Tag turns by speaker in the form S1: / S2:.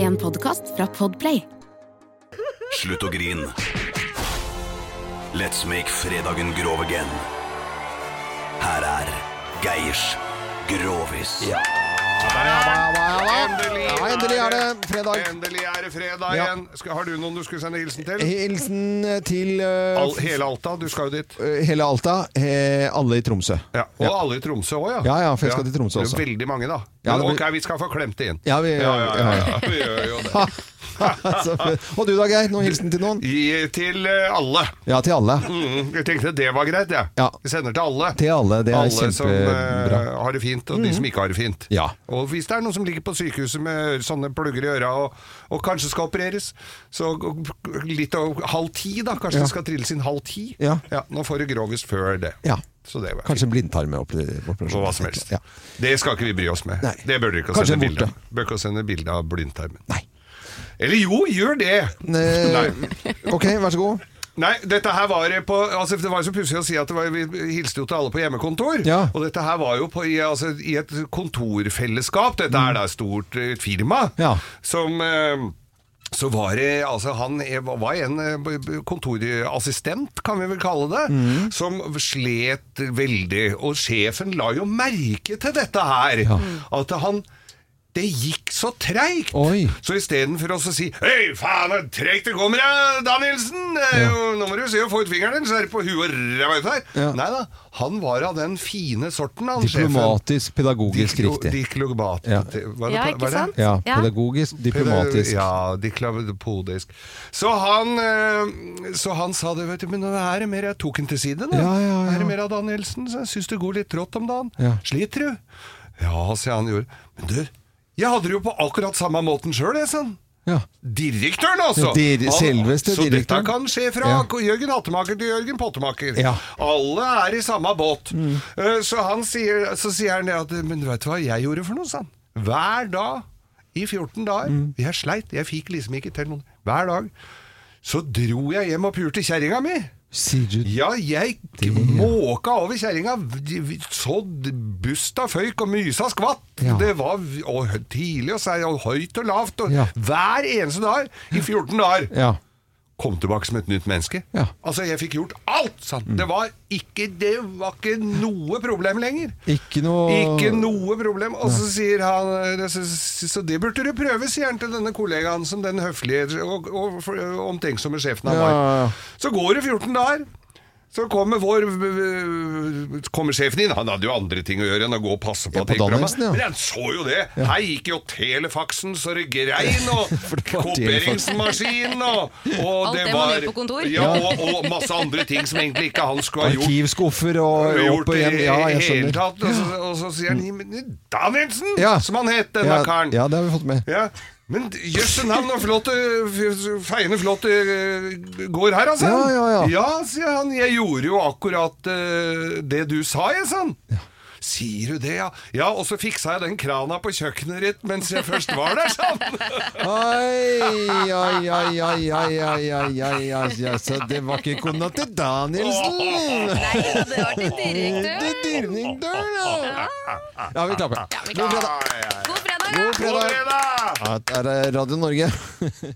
S1: En podkast fra Podplay.
S2: Slutt å grin. Let's make fredagen grov again. Her er Geirs Grovis.
S3: Endelig,
S4: Ja, endelig er det fredag.
S3: Endelig er det fredag
S4: Ja.
S3: igjen. Skal, har du noen du skulle sende hilsen til?
S4: Hilsen til eh,
S3: Al hele Alta, du skal jo dit.
S4: f- hele Alta, eh, alle i Tromsø.
S3: Ja, og alle i Tromsø òg, ja.
S4: Ja, ja, for jeg skal til Tromsø
S3: Det er
S4: også.
S3: veldig mange, da.
S4: Ja, det blir-
S3: Ok, vi skal få klemt det inn.
S4: Ja, vi-
S3: ja, ja, ja,
S4: ja,
S3: ja, vi gjør jo det.
S4: Så- og du da, Geir? Noen hilsen til noen?
S3: Gi til eh, alle.
S4: Ja, til alle.
S3: Mm, jeg tenkte det var greit, jeg.
S4: Ja.
S3: Vi sender til alle.
S4: Til alle, det er
S3: alle som
S4: kjempebra. Mhm.
S3: eh, har det fint, og de som ikke har det fint.
S4: Ja.
S3: Og hvis det er noen som ligger på sykehuset med øre- sånne plugger i øra og, og kanskje skal opereres, så g- litt over halv ti, da. Kanskje det skal trilles inn halv ti.
S4: Ja.
S3: nå får du grovis før det.
S4: Ja.
S3: Så det var
S4: Kanskje en blindtarmoperasjon.
S3: og hva som helst.
S4: Ja.
S3: Det skal ikke vi bry oss med.
S4: Nei.
S3: Det bør dere ikke
S4: Kanskje
S3: sende
S4: en
S3: bilde
S4: vorte.
S3: av. Bør ikke sende bilde av blindtarmen.
S4: Nei.
S3: Eller jo, gjør det!
S4: Eh,
S3: Nei.
S4: ok, vær så god.
S3: Nei, dette her var på altså Det var jo så pussig å si at det var, vi hilste jo til alle på hjemmekontor.
S4: Ja.
S3: Og dette her var jo på, i, altså, i et kontorfellesskap. Dette er da et stort eh, firma
S4: Ja.
S3: som eh, så var det, altså Han er- var en eh, b- b- kontorassistent, kan vi vel kalle det,
S4: Mm.
S3: som slet veldig. Og sjefen la jo merke til dette her. At han Det gikk så treigt.
S4: Oi.
S3: Så istedenfor å si Hei, faen, det er tregt det kommer, ja, Danielsen! Eh, jo, Nå må du se å få ut fingeren din, så er det på huet og ræva ut her.
S4: Ja.
S3: Nei da, han var av den fine sorten, han
S4: Diplomatisk, pedagogisk
S3: sjefen.
S4: riktig.
S3: Diklobat.
S4: Ja.
S3: Hva er det-
S5: Ja,
S3: hva er
S5: ikke
S3: det?
S5: sant?
S4: Ja,
S5: Ja.
S4: pedagogisk, diplomatisk.
S3: Ja, diklapodisk. Så han eh, Så han sa det, vet du, men nå er det mer Jeg tok han til side, da.
S4: Ja, ja, ja.
S3: Er det mer av Danielsen? Så jeg syns det går litt trått om dagen.
S4: Ja.
S3: Sliter du? Ja, sa han gjorde. Men du, jeg hadde det jo på akkurat samme måten sjøl, jeg, sa han.
S4: Ja.
S3: Direktøren,
S4: Ja,
S3: altså!
S4: dir-
S3: Han-
S4: selveste
S3: så dette
S4: direktøren.
S3: kan skje fra
S4: Ja.
S3: K- Jørgen Hattemaker til Jørgen Pottemaker.
S4: Ja. Mm.
S3: Alle er i samme båt. Eh, Så, han sier, så sier han det at Men vet du hva jeg gjorde for noe, sa han. Hver dag i 14 dager.
S4: Mm.
S3: Jeg sleit, jeg fikk liksom ikke til noen. Hver dag. Så dro jeg hjem og pulte kjerringa mi.
S4: Sier du
S3: Ja, jeg måka over kjerringa. v- v- Så d- busta føyk og mysa skvatt.
S4: Ja.
S3: Det var v- og, hø- tidlig og, seig, og høyt og lavt. Og,
S4: Ja.
S3: Hver eneste dag i 14 dager.
S4: Ja.
S3: Kom tilbake som et nytt menneske.
S4: Ja.
S3: Altså, jeg fikk gjort alt! Sant? Det, var ikke, det var ikke noe problem lenger.
S4: Ikke noe
S3: Ikke noe problem. Og så sier han eh, så, så så det burde du prøve, sier han til denne kollegaen som den høflige og, og, for- omtenksomme sjefen han
S4: Ja,
S3: var.
S4: ja, ja.
S3: Så går det 14 dager. Så kommer, vår, øh, kommer sjefen inn. Han hadde jo andre ting å gjøre enn å gå og passe på
S4: Ja, på
S3: teknologi.
S4: Danielsen, ja.
S3: Men han så jo det. Her gikk jo telefaksen så det grein, og
S4: For det var
S3: kopieringsmaskinen og, og
S5: Alt
S3: det
S5: det man
S3: var
S5: gjør på kontor.
S3: Ja, og, og masse andre ting som egentlig ikke han skulle ha gjort
S4: Arkivskuffer og
S3: gjort
S4: opp og hjem.
S3: det i
S4: Ja, jeg
S3: hele
S4: skjønner.
S3: tatt. Og så, og så sier han "Men Danielsen,
S4: Ja.
S3: som han het, denne
S4: Ja,
S3: karen.
S4: ja, det har vi fått med.
S3: Ja. Men jøsse navn og flotte, f- feiende flotte eh, går her, altså.
S4: Ja, ja, ja.
S3: sier han. Jeg gjorde jo akkurat eh, det du sa, jeg, sa han. Sier du det, ja? Ja, og så fiksa jeg den krana på kjøkkenet ditt mens jeg først var der, sa han.
S4: Oi, oi, oi, oi, oi, oi, oi, oi, oi, oi, Så det var ikke kona til Danielsen!
S5: Nei, det var til direkte.
S4: Det er Dyrningdøl, da! Ja, vi klapper.
S5: vi
S4: God fredag.
S5: God fredag!
S4: God
S5: da.
S3: God
S4: fredag.
S3: fredag!
S4: Ja, det er Radio eh, Norge.